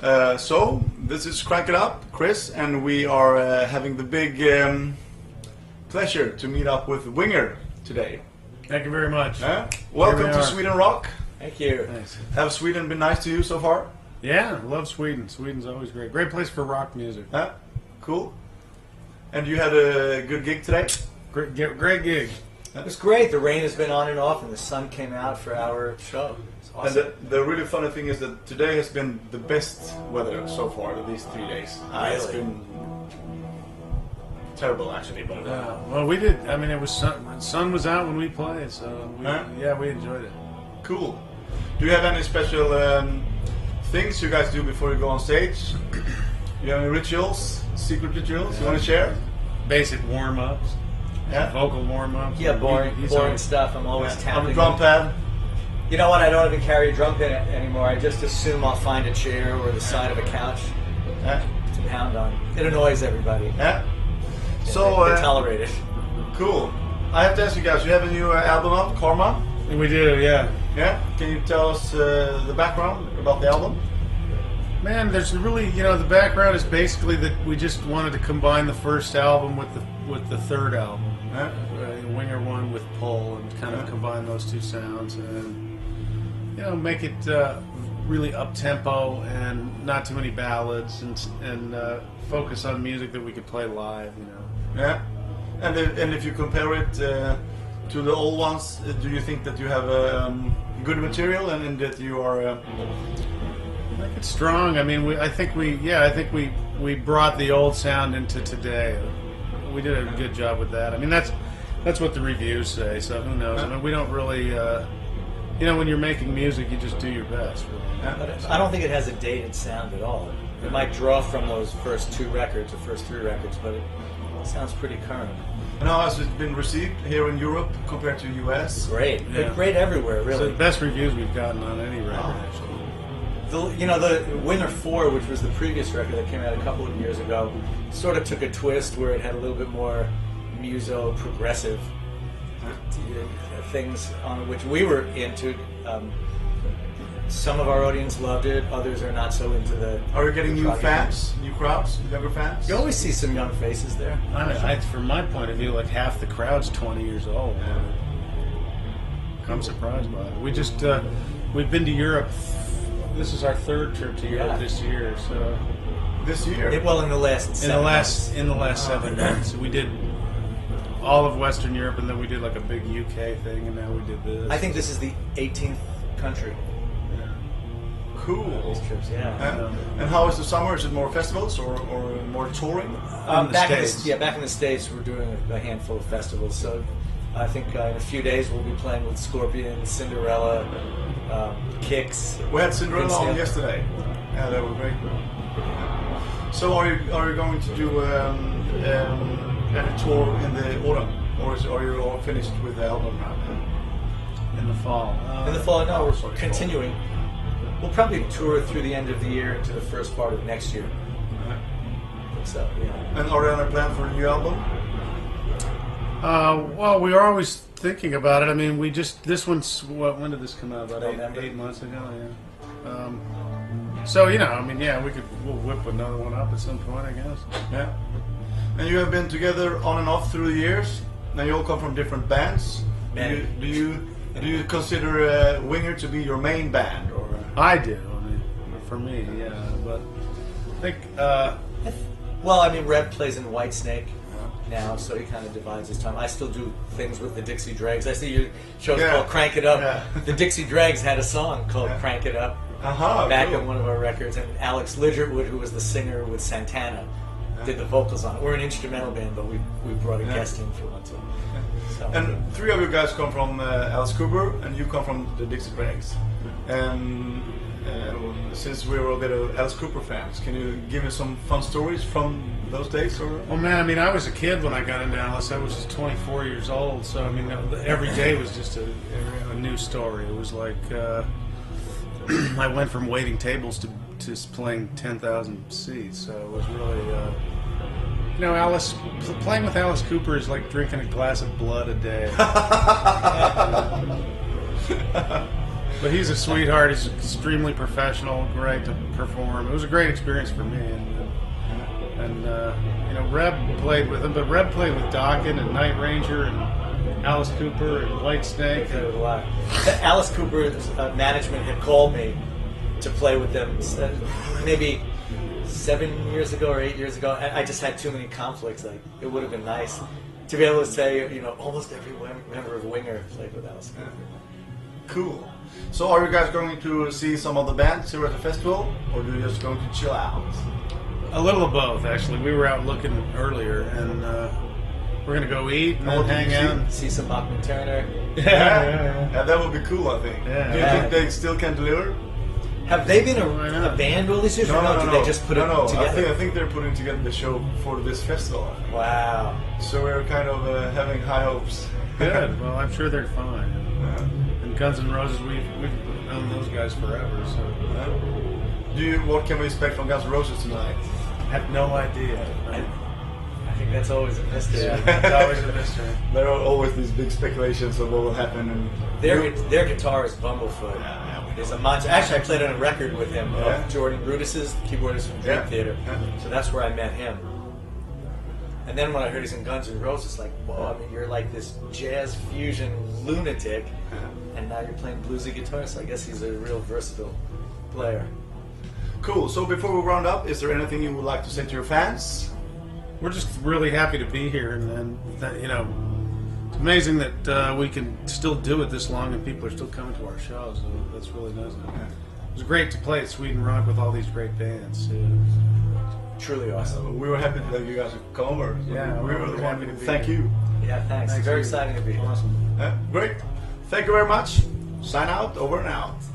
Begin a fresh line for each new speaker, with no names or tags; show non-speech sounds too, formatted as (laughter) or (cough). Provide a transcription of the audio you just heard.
Uh, so this is Crank It Up, Chris, and we are uh, having the big um, pleasure to meet up with Winger today.
Thank you very much.
Huh? welcome
we
to
are.
Sweden Rock.
Thank you.
Thanks.
Have Sweden been nice to you so far?
Yeah, love Sweden. Sweden's always great. Great place for rock music.
Huh? Cool. And you had a good gig today.
Great, ge- great gig.
It was great. The rain has been on and off, and the sun came out for our show. It's
And
awesome.
the, the really funny thing is that today has been the best weather so far these three days. Uh, It's
Really?
been terrible actually, but uh,
Uh, well, we did. I mean, it was sun. Sun was out when we played, so we,
Huh?
yeah, we enjoyed it.
Cool. Do you have any special um, things you guys do before you go on stage? You have any rituals, secret rituals you want to share?
Basic warm ups,
Yeah.
vocal warm ups.
yeah, boring,
He's
boring
always-
stuff. I'm always
On
tapping.
the drum pad.
You know what? I don't even carry a drum pin a- anymore. I just assume I'll find a chair or the side of a couch
Yeah.
to pound on. It annoys everybody.
Yeah. So
So they, they
uh,
tolerate it.
cool. I have to ask you guys. You have a new uh, album out, Karma.
We do, yeah.
Yeah. Can you tell us uh, the background about the album?
Man, there's really, you know, the background is basically that we just wanted to combine the first album with the with the third album.
Yeah.
uh, winger one with pole and kind
Yeah.
of combine those two sounds and you know make it uh, really up tempo and not too many ballads and and uh, focus on music that we could play live. You know,
Yeah. And if, and if you compare it uh, to the old ones, uh, do you think that you have um, good material and, and that you are? Uh,
like it's strong. I mean, we, I think we yeah I think we we brought the old sound into today. We did a good job with that. I mean that's that's what the reviews say. So who knows? I mean we don't really. Uh, you know, when you're making music, you just do your best. Really.
yeah?
But I don't think it has a dated sound at all. It might draw from those first two records or first three records, but it sounds pretty current.
And how has it been received here in Europe compared to US?
Great.
Yeah.
Great everywhere,
So
really.
the best reviews we've gotten on any record, actually.
The, you know, the Winner 4, which was the previous record that came out a couple of years ago, sort of took a twist where it had a little bit more muso progressive uh, things on which we were into. Um, some of our audience loved it, others are not so into the.
Are you getting
the
new
project.
fans, new crowds, younger fans?
You always see some young faces there.
I mean, I, from my point of view, like half the crowd's 20 years old. I'm surprised by it. We just, uh, we've been to Europe. This is our third trip to Europe
Yeah.
this year. So in
This year.
It- well, in the last.
the last in the last seven months, we did all of Western Europe, and then we did like a big UK thing, and now we did this.
I think this is the 18th country.
cool.
These trips, yeah.
Huh?
Yeah.
And how is the summer? Is it more festivals or, or more touring?
Um,
the
back in
States.
the, yeah, back in the states, we're doing a, a handful of festivals. So I think uh, in a few days we'll be playing with Scorpion, Cinderella, um, Kicks.
We had Cinderella on
Instead.
yesterday. Yeah, that was great. So are you are you going to do um, um, a tour in the autumn, or is, are you all finished with the album now?
in the fall. Uh,
In the fall, no,
Sorry,
we're
fall.
continuing. We'll probably tour through the end of the year into the first part of next year. So yeah,
And are you on a plan for a new album?
Uh, well, we are always thinking about it. I mean, we just this one's what? When did this come out? About
November.
eight, eight months ago. Yeah. Um, so you know, I mean, yeah, we could we'll whip another one up at some point, I guess.
Yeah. And you have been together on and off through the years. Now you all come from different bands. Do
Many.
you do you, do you consider uh, Winger to be your main band? Or
I do. I mean, for me, yeah. But I think uh,
well, I mean, Red plays in Whitesnake now, so he kind of divides his time. I still do things with the Dixie Dregs. I see your show's
Yeah.
called Crank It Up.
Yeah.
The Dixie Dregs had a song called
Yeah. Uh-huh.
Crank It Up.
Aha,
back
Oh, cool.
on one of our records, and Alex Lidgertwood, who was the singer with Santana, did the vocals on it. We're an instrumental band, but we, we brought a
Yeah.
guest in
(laughs)
for one too. So,
And three of you guys come from uh, Alice Cooper, and you come from the Dixie Dregs. And uh, since we were a bit of Alice Cooper fans, can you give me some fun stories from those days? Or
well, oh, man, I mean, I was a kid when I got into Alice. I was just 24 years old, so I mean, every day was just a, a new story. It was like uh, (clears throat) I went from waiting tables to to playing 10,000 seats, so it was really. Uh, you know, Alice pl- playing with Alice Cooper is
(laughs)
like drinking a glass of blood a day. But he's a sweetheart. He's extremely professional. Great to perform. It was a great experience for me. And, uh, and uh, you know, Reb played with him, but Reb played with Dokken and Night Ranger and Alice Cooper and White Snake.
It was a lot. uh, Alice Cooper's uh, management had called me to play with them uh, maybe seven years ago or eight years ago. I, I just had too many conflicts. Like it would have been nice to be able to say, you know, almost every win- member of Winger played with Alice Cooper.
Cool. So, are you guys going to see some of the bands here at the festival, or are you just going to chill out?
A little of both, actually. We were out looking earlier, and uh, we're gonna go eat and then
What did
hang
you
out. and-
See some Bachman Turner.
(laughs) Yeah, yeah, yeah.
Yeah, that would be cool, I think.
Yeah.
Do you
Yeah.
think they still can deliver?
Have they been a,
Why not?
a band all these years? or no, did they just put
no,
it
no.
together?
I think, I think they're putting together the show for this festival. I think.
Wow.
So we're kind of uh, having high hopes. Uh,
Good. Well, I'm sure they're fine.
Yeah.
And Guns N' Roses, we've, we've known those guys forever, so
Yeah. Do you, what can we expect from Guns N' Roses tonight?
I have no idea.
I, I think that's always a mystery.
Yeah, it's always a mystery.
There are always these big speculations of what will happen. And
(laughs) Their, their guitar is Bumblefoot.
Yeah, yeah.
It's a monster. Actually, I played on a record with him. of
Yeah.
Jordan Brutus's keyboardist from Dream
Yeah,
Theater.
yeah.
So that's where I met him. And then when I heard he's in Guns N' Roses, like, whoa! I mean, you're like this jazz fusion lunatic,
Uh-huh.
and now you're playing bluesy guitar. So I guess he's a real versatile player.
Cool. So before we round up, is there anything you would like to say to your fans?
We're just really happy to be here, and, and that, you know, it's amazing that uh, we can still do it this long, and people are still coming to our shows. So that's really nice. It was great to play at Sweden Rock with all these great bands. Yeah.
Truly awesome.
We were happy that you guys have come over. So
Yeah,
we
we're
were
really
happy
happy
to
to be
Thank
here.
you.
Yeah, thanks.
Thanks,
Very
dude.
exciting to be here.
Awesome.
Uh, great. Thank you very much. Sign out. Over and out.